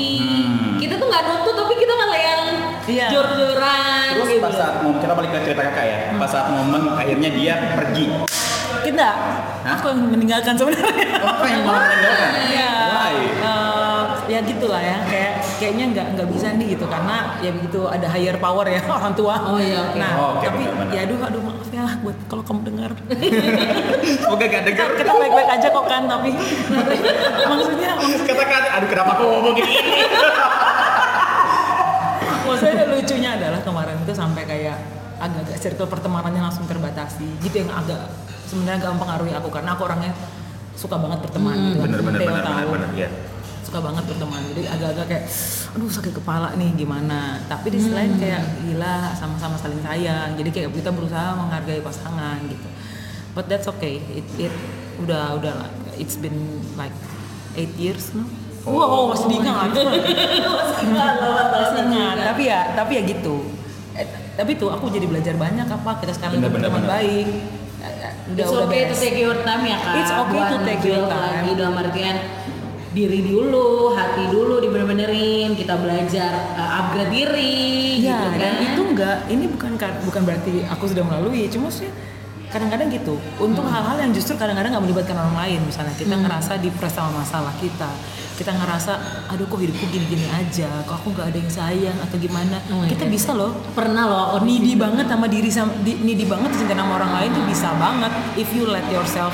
Speaker 2: Hmm.
Speaker 1: Kita tuh nggak nuntut, tapi kita malah yang
Speaker 3: Iya.
Speaker 1: jor-joran.
Speaker 2: Terus
Speaker 1: gitu.
Speaker 2: pas saat momen kita balik ke cerita kakak ya, pas saat momen akhirnya dia pergi.
Speaker 3: kita
Speaker 2: Hah?
Speaker 3: aku yang meninggalkan sebenarnya
Speaker 2: Apa yang malah meninggalkan?
Speaker 3: Iya.
Speaker 2: Why?
Speaker 3: Eh, ya gitulah ya. Kayak kayaknya nggak nggak bisa nih gitu karena ya begitu ada higher power ya orang tua.
Speaker 1: Oh, iya, oke.
Speaker 3: Nah,
Speaker 2: Oh, oke,
Speaker 3: tapi
Speaker 2: benar-benar.
Speaker 3: ya aduh aduh maaf ya buat kalau kamu dengar.
Speaker 2: Semoga gak
Speaker 3: kita
Speaker 2: denger.
Speaker 3: kita baik-baik aja kok kan tapi maksudnya
Speaker 2: Katakan, aduh kenapa aku ngomong gini?
Speaker 3: maksudnya lucunya adalah kemarin itu sampai kayak agak-agak circle pertemanannya langsung terbatasi gitu yang agak sebenarnya agak mempengaruhi aku karena aku orangnya suka banget berteman
Speaker 2: Hmm,
Speaker 3: gitu.
Speaker 2: Bener-bener,
Speaker 3: Theo tahu.
Speaker 2: bener-bener, ya.
Speaker 3: suka banget berteman jadi agak-agak kayak aduh sakit kepala nih gimana tapi di sisi lain kayak gila sama-sama saling sayang jadi kayak kita berusaha menghargai pasangan gitu but that's okay it, it udah udah lah. it's been like 8 years no?
Speaker 4: Wow, masih diingat. masih ingat.
Speaker 3: Tapi ya, tapi ya gitu. Eh, tapi tuh aku jadi belajar banyak apa kita sekarang
Speaker 2: Bener,
Speaker 3: udah
Speaker 2: bener,
Speaker 3: teman
Speaker 2: bener.
Speaker 3: baik. Eh, eh, Udah
Speaker 1: It's
Speaker 3: udah
Speaker 1: okay to
Speaker 3: beres.
Speaker 1: take your time ya kak.
Speaker 3: It's okay to
Speaker 1: Buat
Speaker 3: take your
Speaker 1: build
Speaker 3: time.
Speaker 1: Lagi dalam artian diri dulu, hati dulu dibener-benerin, kita belajar uh, upgrade diri.
Speaker 3: Iya,
Speaker 1: gitu
Speaker 3: dan
Speaker 1: kan.
Speaker 3: itu enggak, ini bukan kar- bukan berarti aku sudah melalui, cuma maksudnya kadang-kadang gitu. Untuk
Speaker 1: Hmm.
Speaker 3: hal-hal yang justru kadang-kadang nggak melibatkan orang lain, misalnya kita ngerasa dipres sama masalah kita, kita ngerasa, aduh kok hidupku gini-gini aja, kok aku nggak ada yang sayang atau gimana,
Speaker 1: Oh my
Speaker 3: kita
Speaker 1: God.
Speaker 3: bisa loh
Speaker 1: pernah loh gitu. aku
Speaker 3: needy banget sama diri sama di- needy banget cinta sama orang lain tuh bisa banget if you let yourself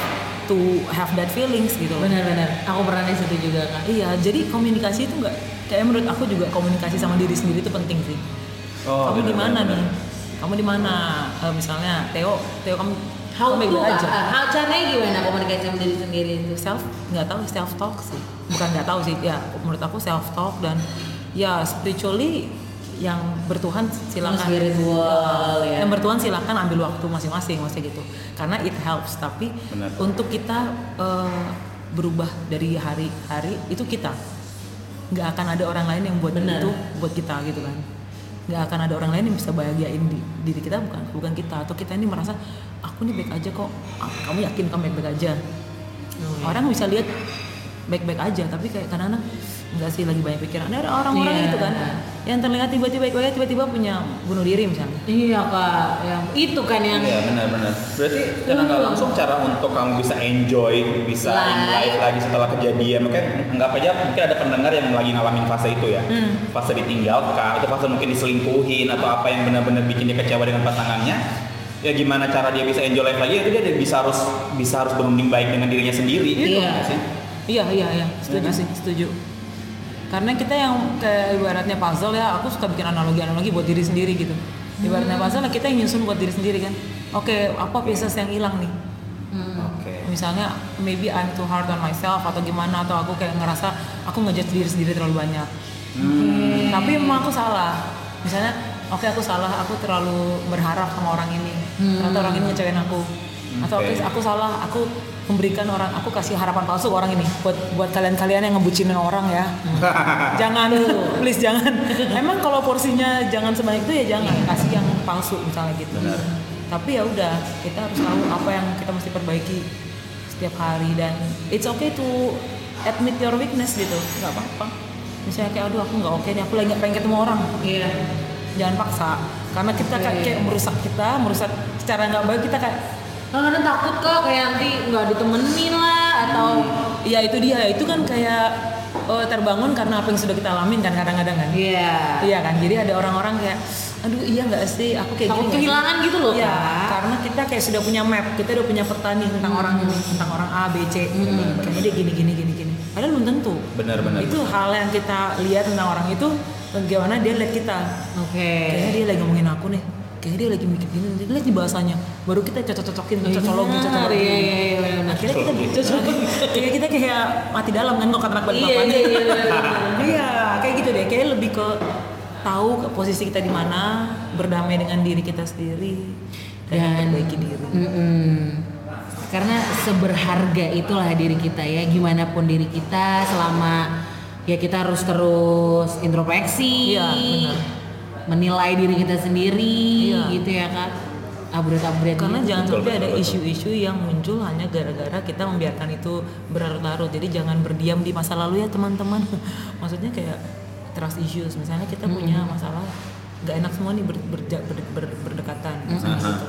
Speaker 3: to have that feelings gitu
Speaker 1: Benar-benar, aku pernah di situ juga kak.
Speaker 3: iya jadi komunikasi itu nggak kayak menurut aku juga komunikasi sama diri sendiri itu penting sih
Speaker 2: Oh,
Speaker 3: kamu
Speaker 2: benar,
Speaker 3: di mana
Speaker 2: benar,
Speaker 3: nih
Speaker 2: benar.
Speaker 3: kamu di mana Eh, misalnya Theo Theo kamu
Speaker 1: How
Speaker 3: kamu
Speaker 1: to
Speaker 3: baik-baik
Speaker 1: kak? Uh, How caranya gimana komunikasi sama diri sendiri itu?
Speaker 3: self nggak tahu self talk sih bukan nggak tahu sih ya menurut aku self talk dan ya spiritually yang bertuhan silakan
Speaker 1: Yang spiritual, ya.
Speaker 3: yang bertuhan silakan ambil waktu masing-masing maksudnya gitu karena it helps tapi
Speaker 2: Benar.
Speaker 3: untuk kita eh, berubah dari hari-hari itu kita nggak akan ada orang lain yang buat
Speaker 1: Benar.
Speaker 3: itu buat kita gitu kan nggak akan ada orang lain yang bisa bahagiain di- diri kita bukan bukan kita atau kita ini merasa aku nih baik aja kok Ah, kamu yakin kamu baik-baik aja
Speaker 1: Oh,
Speaker 3: orang
Speaker 1: iya.
Speaker 3: bisa lihat baik-baik aja tapi kayak kadang-kadang nggak sih lagi banyak pikiran ada orang-orang
Speaker 1: Iya.
Speaker 3: itu kan yang terlihat tiba-tiba baik-baik tiba-tiba punya bunuh diri misalnya
Speaker 1: Iya kak, yang itu kan yang
Speaker 2: Iya benar-benar. Berarti cara nggak
Speaker 3: Hmm.
Speaker 2: langsung cara untuk kamu bisa enjoy, bisa in
Speaker 1: Life.
Speaker 2: life lagi setelah kejadian. Mungkin nggak aja mungkin ada pendengar yang lagi ngalamin fase itu ya,
Speaker 1: Hmm.
Speaker 2: fase ditinggalkan, atau fase mungkin diselingkuhin atau apa yang benar-benar bikin dia kecewa dengan pasangannya. Ya gimana cara dia bisa enjoy life lagi? Itu dia dia bisa harus bisa harus berunding baik dengan dirinya sendiri. Gitu
Speaker 1: Iya.
Speaker 2: nggak sih?
Speaker 3: iya iya iya setuju sih setuju karena kita yang kayak ibaratnya puzzle ya aku suka bikin analogi-analogi buat diri sendiri gitu ibaratnya puzzle lah, kita yang nyusun buat diri sendiri kan oke apa pieces yang hilang nih
Speaker 1: Hmm.
Speaker 2: Oke.
Speaker 3: misalnya maybe I'm too hard on myself atau gimana atau aku kayak ngerasa aku ngejudge diri sendiri terlalu banyak tapi emang aku salah misalnya oke aku salah aku terlalu berharap sama orang ini atau orang ini ngecewain aku atau oke
Speaker 2: Oke.
Speaker 3: aku salah aku memberikan orang aku kasih harapan palsu ke orang ini buat buat kalian-kalian yang ngebucinin orang ya jangan please jangan emang kalau porsinya jangan sebanyak itu ya jangan kasih yang palsu misalnya gitu
Speaker 2: Benar.
Speaker 3: tapi ya udah kita harus tahu apa yang kita mesti perbaiki setiap hari dan it's okay to admit your weakness gitu nggak apa-apa misalnya kayak aduh aku nggak oke nih aku lagi nggak pengen ketemu orang
Speaker 1: Iya.
Speaker 3: jangan paksa karena kita kayak,
Speaker 1: Oke.
Speaker 3: kayak merusak kita merusak secara nggak baik kita kayak
Speaker 1: Kadang-kadang takut kak kayak nanti nggak ditemenin lah atau
Speaker 3: ya itu dia itu kan kayak eh, terbangun karena apa yang sudah kita alamin kan kadang-kadang kan
Speaker 1: Iya.
Speaker 3: Iya kan, jadi ada orang-orang kayak, aduh iya nggak sih, aku kayak
Speaker 1: Takut
Speaker 3: gini nggak sih?"
Speaker 1: kehilangan gitu loh,
Speaker 3: Iya,
Speaker 1: Kak.
Speaker 3: karena kita kayak sudah punya map, kita udah punya peta nih tentang orang ini,
Speaker 1: Hmm.
Speaker 3: tentang orang A, B, C, kayaknya dia gini, gini, gini, gini. Padahal belum tentu.
Speaker 2: Benar-benar.
Speaker 3: Itu hal yang kita lihat tentang orang itu, bagaimana dia lihat kita.
Speaker 1: Oke.
Speaker 3: Kayaknya dia lagi ngomongin aku nih, kayaknya dia lagi mikir gini, nanti lihat di bahasanya. Baru kita cocok-cocokin, cocokologi,
Speaker 1: Benar,
Speaker 3: cocokologi.
Speaker 1: Iya iya iya. benar-benar.
Speaker 3: Akhirnya Nah, kita cocokologi. Kayak kita kayak mati dalam kan kok kata anak
Speaker 1: Iya
Speaker 3: bapaknya.
Speaker 1: iya iya. benar-benar.
Speaker 3: Iya, kayak gitu deh. Kayak lebih ke tahu ke posisi kita di mana, berdamai dengan diri kita sendiri dan
Speaker 1: Dan- Iya,
Speaker 3: memperbaiki diri.
Speaker 1: Mm-mm. Karena seberharga itulah diri kita ya, gimana pun diri kita selama ya kita harus terus introspeksi,
Speaker 3: Iya, benar.
Speaker 1: menilai diri kita sendiri,
Speaker 3: Iya.
Speaker 1: gitu ya kak. Upgrade-upgrade.
Speaker 3: Karena
Speaker 1: gitu.
Speaker 3: jangan
Speaker 2: Betul,
Speaker 3: sampai ada
Speaker 2: betul, betul.
Speaker 3: isu-isu yang muncul hanya gara-gara kita membiarkan itu berlarut-larut. Jadi jangan berdiam di masa lalu ya teman-teman. Maksudnya kayak trust issues. Misalnya kita punya masalah nggak enak semua nih ber- berja- ber- ber- berdekatan. Misalnya
Speaker 2: Mhm.
Speaker 3: gitu.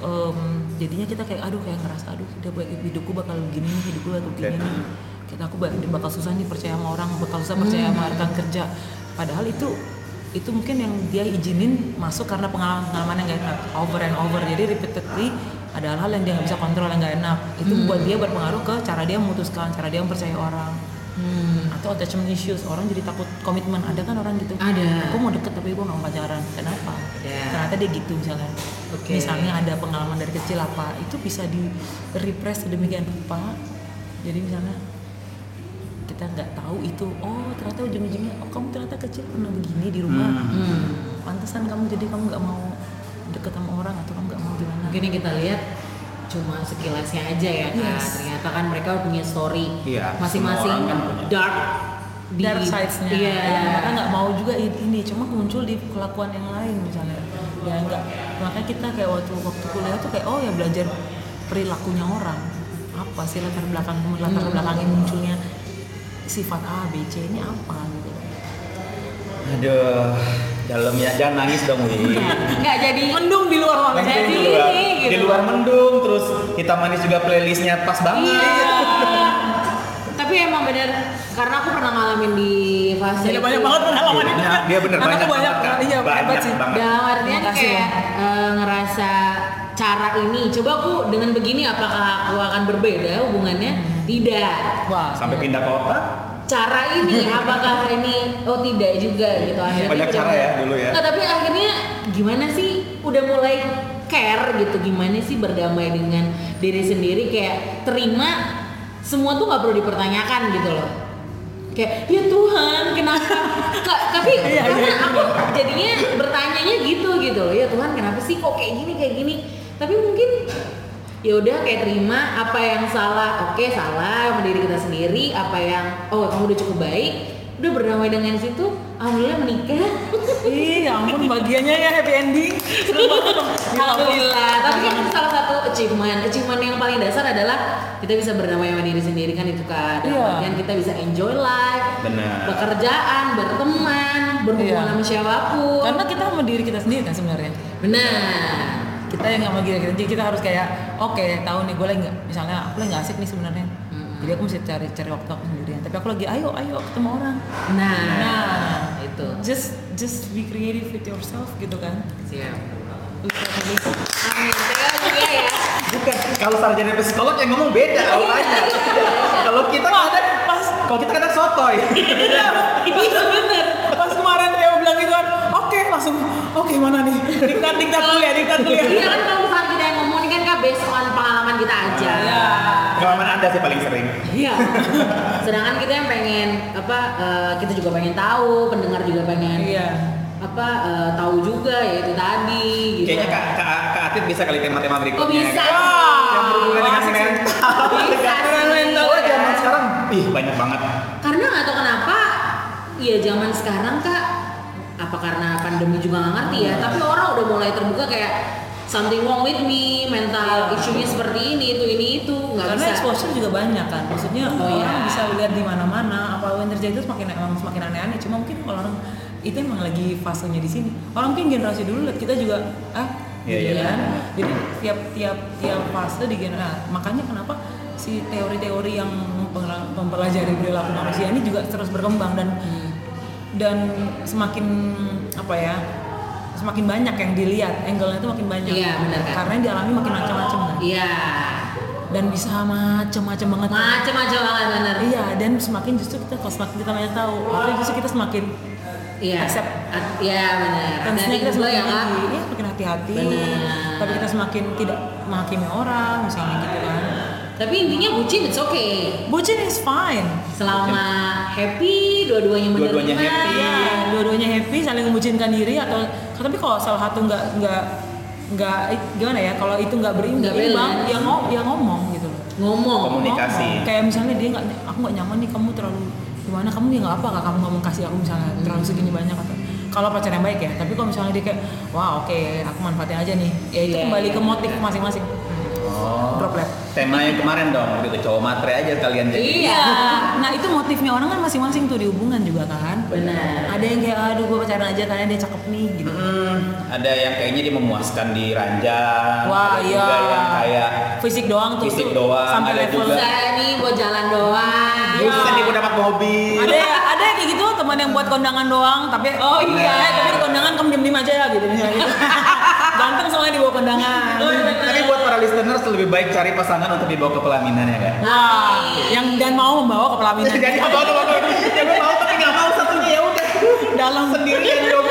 Speaker 3: Em, jadinya kita kayak aduh kayak ngerasa aduh udah baik- hidupku bakal begini nih, hidupku bakal begini
Speaker 2: Oke.
Speaker 3: nih. Kayak aku bak- bakal susah nih percaya sama orang, bakal susah percaya sama rekan kerja. Padahal itu itu mungkin yang dia izinin masuk karena pengalaman-pengalaman yang gak enak over and over jadi repeatedly ada hal-hal yang dia nggak bisa kontrol yang gak enak itu buat dia berpengaruh ke cara dia memutuskan cara dia mempercaya orang atau attachment issues orang jadi takut komitmen ada kan orang gitu
Speaker 1: Ada.
Speaker 3: aku mau deket tapi gue gak mau pacaran kenapa
Speaker 1: Ada.
Speaker 2: Ya.
Speaker 3: ternyata dia gitu misalnya
Speaker 1: Oke.
Speaker 3: misalnya ada pengalaman dari kecil apa itu bisa di repress sedemikian rupa jadi misalnya kita nggak tahu itu oh ternyata ujung-ujungnya oh kamu ternyata kecil pernah begini di rumah
Speaker 1: Hmm.
Speaker 3: pantesan kamu jadi kamu nggak mau deket sama orang atau kamu nggak mau gimana
Speaker 1: Mungkin yang kita lihat cuma sekilasnya aja ya kan
Speaker 3: Yes.
Speaker 1: ternyata kan mereka punya story
Speaker 2: Iya,
Speaker 1: masing-masing
Speaker 2: semua orang kan punya.
Speaker 1: dark di-
Speaker 3: dark sides-nya
Speaker 1: iya
Speaker 3: yang mereka nggak mau juga i- ini cuma muncul di kelakuan yang lain misalnya ya nggak makanya kita kayak waktu waktu kuliah tuh kayak oh ya belajar perilakunya orang apa sih latar belakang latar
Speaker 5: Hmm.
Speaker 3: belakangnya munculnya sifat A B C ini apa gitu
Speaker 2: Aduh, dalam ya jangan nangis dong Wi.
Speaker 1: nggak jadi mendung di luar ruang
Speaker 2: Mendung
Speaker 1: Iya. jadi
Speaker 2: di luar,
Speaker 1: ini gitu
Speaker 2: di luar mendung, terus kita manis juga playlistnya pas banget.
Speaker 1: iya tapi emang bener karena aku pernah ngalamin di fase
Speaker 5: Gila, banyak
Speaker 1: itu.
Speaker 5: banget pengalaman
Speaker 2: Iya,
Speaker 5: itu.
Speaker 2: dia- dia bener
Speaker 5: Karena
Speaker 2: banyak
Speaker 5: aku banyak,
Speaker 2: banget, Kak.
Speaker 5: iya,
Speaker 2: Banyak
Speaker 5: hebat sih.
Speaker 2: banget.
Speaker 1: dalam artian
Speaker 5: Makasih,
Speaker 1: kayak eh, ngerasa cara ini coba aku dengan begini apakah aku akan berbeda hubungannya tidak
Speaker 3: wah
Speaker 2: Sampai pindah kota,
Speaker 1: cara ini apakah ini oh tidak juga gitu akhirnya
Speaker 2: Banyak
Speaker 1: udah-
Speaker 2: cara ya dulu ya.
Speaker 1: Nggak, tapi akhirnya gimana sih udah mulai care gitu gimana sih berdamai dengan diri sendiri kayak terima semua tuh nggak perlu dipertanyakan gitu loh kayak ya Tuhan kenapa Ka- tapi karena aku jadinya bertanyanya gitu gitu loh ya Tuhan kenapa sih kok kayak gini kayak gini tapi mungkin ya udah kayak terima apa yang salah oke salah sama diri kita sendiri apa yang oh kamu udah cukup baik udah berdamai dengan situ alhamdulillah menikah
Speaker 5: Ih, ya ampun bagiannya ya happy ending. Seneng banget dong. Gila,
Speaker 1: alhamdulillah tapi kan salah satu achievement achievement yang paling dasar adalah kita bisa berdamai sama diri sendiri kan itu kan
Speaker 3: Iya.
Speaker 1: Dalam artian kita bisa enjoy life
Speaker 2: benar.
Speaker 1: pekerjaan berteman berhubungan
Speaker 3: Iya.
Speaker 1: sama siapapun
Speaker 3: karena kita sama diri kita sendiri kan sebenarnya
Speaker 1: benar
Speaker 3: kita yang nggak mau gila kita jadi kita harus kayak oke tahu nih gue lagi nggak misalnya aku lagi nggak asik nih sebenarnya jadi aku mesti cari cari waktu aku sendirian tapi aku lagi ayo ayo ketemu orang
Speaker 1: nah,
Speaker 3: Nah.
Speaker 1: itu
Speaker 3: just just be creative with yourself gitu kan
Speaker 1: siap
Speaker 3: With your belief.
Speaker 1: amin Teo juga ya
Speaker 2: Bukan, kalau sarjana psikolog yang ngomong beda awalnya. kalau kita kadang pas, kalau kita kadang sotoy.
Speaker 1: iya bener
Speaker 5: Pas kemarin Theo bilang gitu kan, oke langsung, oke mana nih? Diktat, diktat dulu ya, diktat dulu ya.
Speaker 1: Iya kan kalau misalnya kita yang ngomong ini kan kak based on pengalaman kita aja.
Speaker 3: Iya.
Speaker 2: Pengalaman anda sih paling sering.
Speaker 1: Iya. Sedangkan kita yang pengen apa eh, kita juga pengen tahu, pendengar juga pengen
Speaker 5: Iya.
Speaker 1: apa eh, tahu juga ya itu tadi gitu.
Speaker 2: Kayaknya kak, kak, kak Atit bisa kali tema-tema berikutnya.
Speaker 1: Oh bisa.
Speaker 2: ya, Kak? Yang berhubungan dengan
Speaker 1: Bisa
Speaker 2: mental. Dengan
Speaker 1: sih.
Speaker 2: mental. Oh, zaman sekarang, ih banyak banget.
Speaker 1: Karena nggak tahu kenapa ya zaman sekarang kak apa karena pandemi juga nggak ngerti ya. Tapi orang udah mulai terbuka kayak something wrong with me, mental isunya seperti ini itu ini itu nggak
Speaker 3: karena
Speaker 1: bisa.
Speaker 3: exposure juga banyak kan maksudnya
Speaker 1: Oh, iya.
Speaker 3: orang bisa lihat di mana-mana apa yang terjadi itu semakin emang semakin aneh-aneh cuma mungkin kalau orang itu emang lagi fasenya di sini orang mungkin generasi dulu lihat kita juga ah
Speaker 2: Iya,
Speaker 3: gitu
Speaker 2: iya.
Speaker 3: kan jadi tiap tiap tiap fase di generasi makanya kenapa si teori-teori yang mempela- mempelajari perilaku manusia ini juga terus berkembang dan dan semakin apa ya semakin banyak yang dilihat angle-nya itu makin banyak
Speaker 1: Iya, benar, Kak.
Speaker 3: karena yang dialami makin macam-macam kan
Speaker 1: Iya.
Speaker 3: dan bisa macam-macam banget
Speaker 1: macam-macam kan, banget bener
Speaker 3: iya dan semakin justru kita kalau semakin kita banyak tahu akhirnya justru kita semakin
Speaker 1: iya
Speaker 3: Accept.
Speaker 1: At- iya bener
Speaker 3: tensinya kita
Speaker 1: juga ya
Speaker 3: semakin
Speaker 1: kak
Speaker 3: tinggi, iya, semakin hati-hati
Speaker 1: Benar.
Speaker 3: tapi kita semakin tidak menghakimi orang misalnya gitu kan
Speaker 1: tapi intinya bucin it's okay
Speaker 3: bucin is fine
Speaker 1: selama happy dua-duanya menerima
Speaker 2: Dua-duanya happy.
Speaker 1: iya.
Speaker 3: Iya, dua-duanya happy saling membucinkan diri atau tapi kalau salah satu nggak nggak nggak gimana ya kalau itu nggak
Speaker 1: Nggak
Speaker 3: berimbang imbang,
Speaker 1: balance.
Speaker 3: ya ngom ya ngomong gitu loh
Speaker 1: ngomong
Speaker 2: Komunikasi.
Speaker 3: Ngomong. Oh, kayak misalnya dia nggak aku nggak nyaman nih kamu terlalu gimana kamu ya nggak apa nggak kamu ngomong kasih aku misalnya terlalu segini banyak atau kalau pacar yang baik ya tapi kalau misalnya dia kayak wah oke aku manfaatin aja nih ya itu
Speaker 1: Iya,
Speaker 3: kembali
Speaker 1: iya,
Speaker 3: ke motif masing-masing
Speaker 2: Oh.
Speaker 3: drop lab
Speaker 2: Tema yang kemarin dong, gitu cowok matre aja kalian jadi.
Speaker 1: iya
Speaker 3: nah itu motifnya orang kan masing-masing tuh di hubungan juga kan
Speaker 1: bener
Speaker 3: ada yang kayak aduh gue pacaran aja karena dia cakep nih gitu
Speaker 2: Mm-mm. ada yang kayaknya dia memuaskan di ranjang,
Speaker 3: wah
Speaker 2: ada
Speaker 3: iya
Speaker 2: juga yang kayak
Speaker 3: fisik doang tuh
Speaker 2: Fisik
Speaker 3: tuh,
Speaker 2: doang,
Speaker 3: sampai
Speaker 2: ada
Speaker 3: level
Speaker 2: juga-
Speaker 1: bisa nih buat jalan doang
Speaker 2: Buset nih gue dapat mobil.
Speaker 3: ada ya- ada yang kayak gitu teman yang buat kondangan doang tapi oh
Speaker 2: iya.
Speaker 3: tapi di kondangan kamu diem diem aja ya gitu misalnya gitu. ganteng soalnya dibawa kondangan
Speaker 2: Tapi buat para listeners lebih baik cari pasangan untuk dibawa ke pelaminan ya kan?
Speaker 3: wah Nah, yang dan mau membawa ke pelaminan
Speaker 2: Jadi apa tuh apa tuh? Jangan Ya, mau tapi nggak mau satunya ya udah
Speaker 3: dalam
Speaker 2: sendirian dong.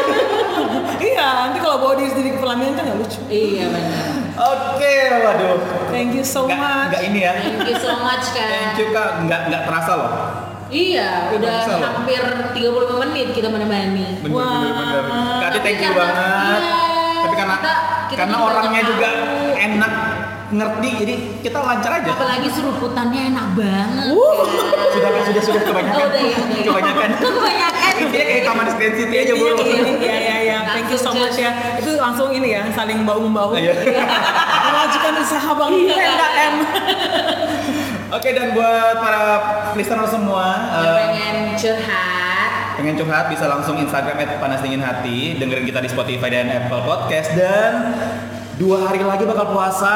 Speaker 3: iya nanti kalau bawa diri sendiri ke pelaminan kan nggak lucu
Speaker 1: iya bener
Speaker 2: Oke, waduh.
Speaker 3: thank you so
Speaker 2: Nggak
Speaker 3: much
Speaker 2: nggak ini ya.
Speaker 1: thank you so much
Speaker 2: Thank
Speaker 1: kak
Speaker 2: you kak, nggak nggak terasa loh.
Speaker 1: iya udah
Speaker 2: Bisa loh.
Speaker 1: hampir 35 menit kita menemani
Speaker 2: Bener bener bener. Kak Ati, thank you
Speaker 1: Tapi karena-
Speaker 2: banget.
Speaker 1: iya,
Speaker 2: Tapi karena
Speaker 1: kita- kita
Speaker 2: karena
Speaker 1: juga
Speaker 2: orangnya
Speaker 1: nggak
Speaker 2: juga
Speaker 1: tahu.
Speaker 2: enak ngerti jadi kita lancar aja
Speaker 1: apalagi seruputannya enak banget
Speaker 2: Uh, sudah sudah sudah kebanyakan
Speaker 1: Oh, udah ya, udah ya.
Speaker 2: kebanyakan
Speaker 1: Itu kebanyakan.
Speaker 2: intinya kayak taman Grand City aja bro
Speaker 3: Iya iya iya, thank you so much ya. Itu langsung ini ya, saling bahu membahu.
Speaker 2: Iya.
Speaker 3: Memajukan usaha Bang
Speaker 1: Iya.
Speaker 3: Penda M.
Speaker 2: Oke dan buat para listener semua
Speaker 1: Yang
Speaker 2: eh,
Speaker 1: pengen curhat
Speaker 2: pengen curhat bisa langsung Instagram at panas dingin hati dengerin kita di Spotify dan Apple Podcast dan dua hari lagi bakal puasa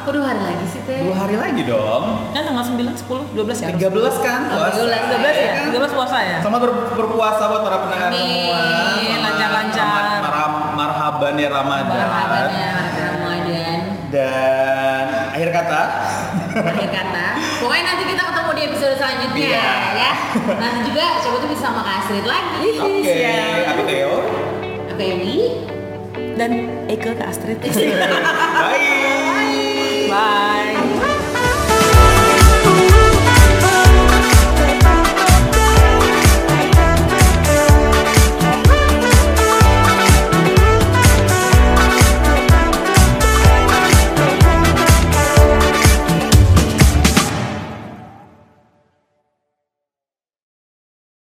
Speaker 1: kok dua hari lagi sih teh
Speaker 2: dua hari lagi dong
Speaker 3: Kan tanggal 9, 10, 12 ya.
Speaker 2: 13 kan puasa
Speaker 1: 13,
Speaker 3: 12 ya, 13 puasa ya.
Speaker 2: sama ber- berpuasa buat para pendengar
Speaker 1: Amin.
Speaker 2: semua Sama
Speaker 3: Lancar-lancar.
Speaker 2: mar- mar- marhaban ya Ramadan
Speaker 1: Marhabannya Ramadan
Speaker 2: dan akhir kata
Speaker 1: akhir kata pokoknya nanti kita ketemu di episode selanjutnya
Speaker 2: Iya.
Speaker 1: ya nanti juga coba tuh bisa sama Kak Astrid lagi
Speaker 2: oke aku Theo
Speaker 1: oke ini
Speaker 3: Dan Eke ke Astrid.
Speaker 2: bye
Speaker 3: Bye.